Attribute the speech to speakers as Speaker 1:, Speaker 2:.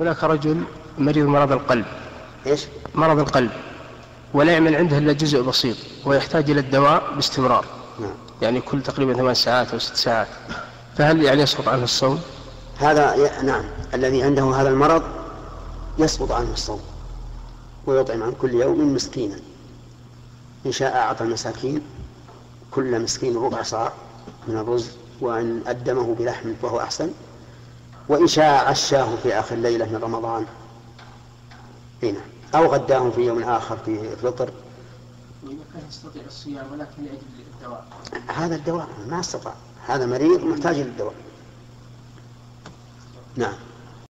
Speaker 1: هناك رجل مريض مرض القلب
Speaker 2: ايش؟
Speaker 1: مرض القلب ولا يعمل عنده إلا جزء بسيط ويحتاج إلى الدواء باستمرار
Speaker 2: نعم
Speaker 1: يعني كل تقريبا ثمان ساعات أو ست ساعات فهل يعني يسقط عنه الصوم؟
Speaker 2: هذا ي- نعم الذي عنده هذا المرض يسقط عنه الصوم ويطعم عن كل يوم مسكينا إن شاء أعطى المساكين كل مسكين ربع صاع من الرز وأن أدمه بلحم وهو أحسن وإن شاء عشاه في آخر ليلة من رمضان هنا أو غداه في يوم آخر في الفطر
Speaker 1: كان يستطيع الصيام ولكن لأجل الدواء
Speaker 2: هذا الدواء ما استطاع هذا مريض محتاج للدواء نعم